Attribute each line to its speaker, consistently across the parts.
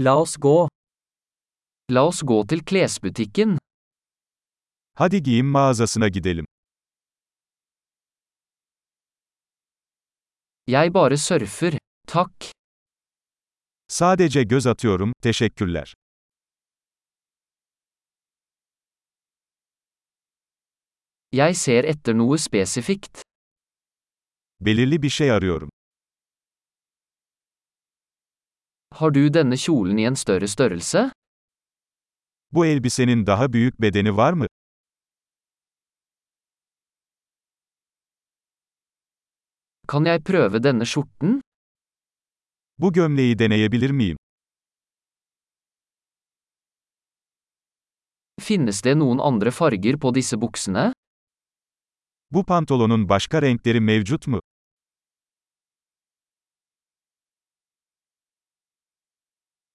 Speaker 1: La oss gå. La oss gå til klesbutikken.
Speaker 2: Hadi giyim mağazasına gidelim.
Speaker 1: Jeg bare surfer. Takk.
Speaker 2: Sadece göz atıyorum, teşekkürler.
Speaker 1: Jeg ser etter noe spesifikt.
Speaker 2: Belirli bir şey arıyorum.
Speaker 1: Har du denne kjolen i en større størrelse?
Speaker 2: Bu elbisenin daha büyük bedeni var mı?
Speaker 1: Kan jeg prøve denne skjorten?
Speaker 2: Bu gömleği deneyebilir miyim?
Speaker 1: Finnes det noen andre farger på disse buksene?
Speaker 2: Bu pantolonun başka renkleri mevcut mu?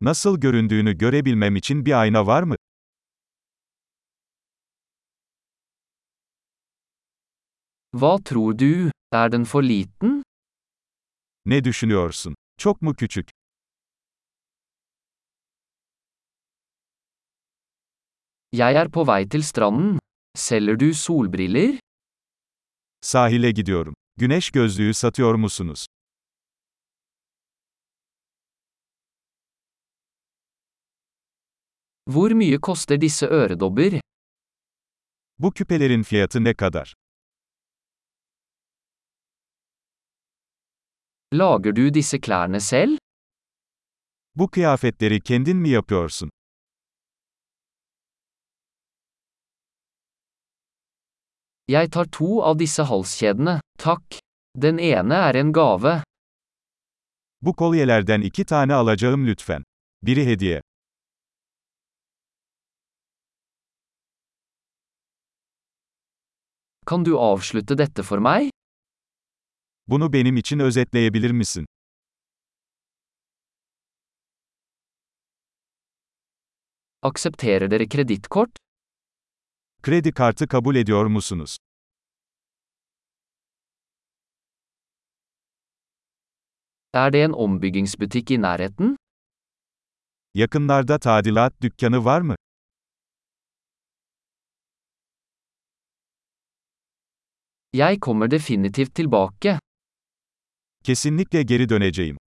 Speaker 2: Nasıl göründüğünü görebilmem için bir ayna var mı?
Speaker 1: Hva tror du? Er den for liten?
Speaker 2: Ne düşünüyorsun? Çok mu küçük?
Speaker 1: Jeg er på vei til stranden. Selger du solbriller?
Speaker 2: Sahile gidiyorum. Güneş gözlüğü satıyor musunuz?
Speaker 1: Hvor mye koster disse øredobber?
Speaker 2: Bu küpelerin fiyatı ne kadar?
Speaker 1: Lager du disse klærne selv?
Speaker 2: Bu kıyafetleri kendin mi yapıyorsun?
Speaker 1: Jeg tar to av disse halskjedene, takk. Den ene er en gave.
Speaker 2: Bu kolyelerden iki tane alacağım lütfen. Biri hediye.
Speaker 1: Kan du avslutte dette for meg?
Speaker 2: Bunu benim için özetleyebilir misin?
Speaker 1: Aksepterer dere kredittkort?
Speaker 2: Kredi kartı kabul ediyor musunuz?
Speaker 1: Er det en ombyggingsbutikk i nærheten?
Speaker 2: Yakınlarda tadilat dükkanı var mı?
Speaker 1: Jeg kommer definitivt tilbake.
Speaker 2: Kesinlikle geri döneceğim.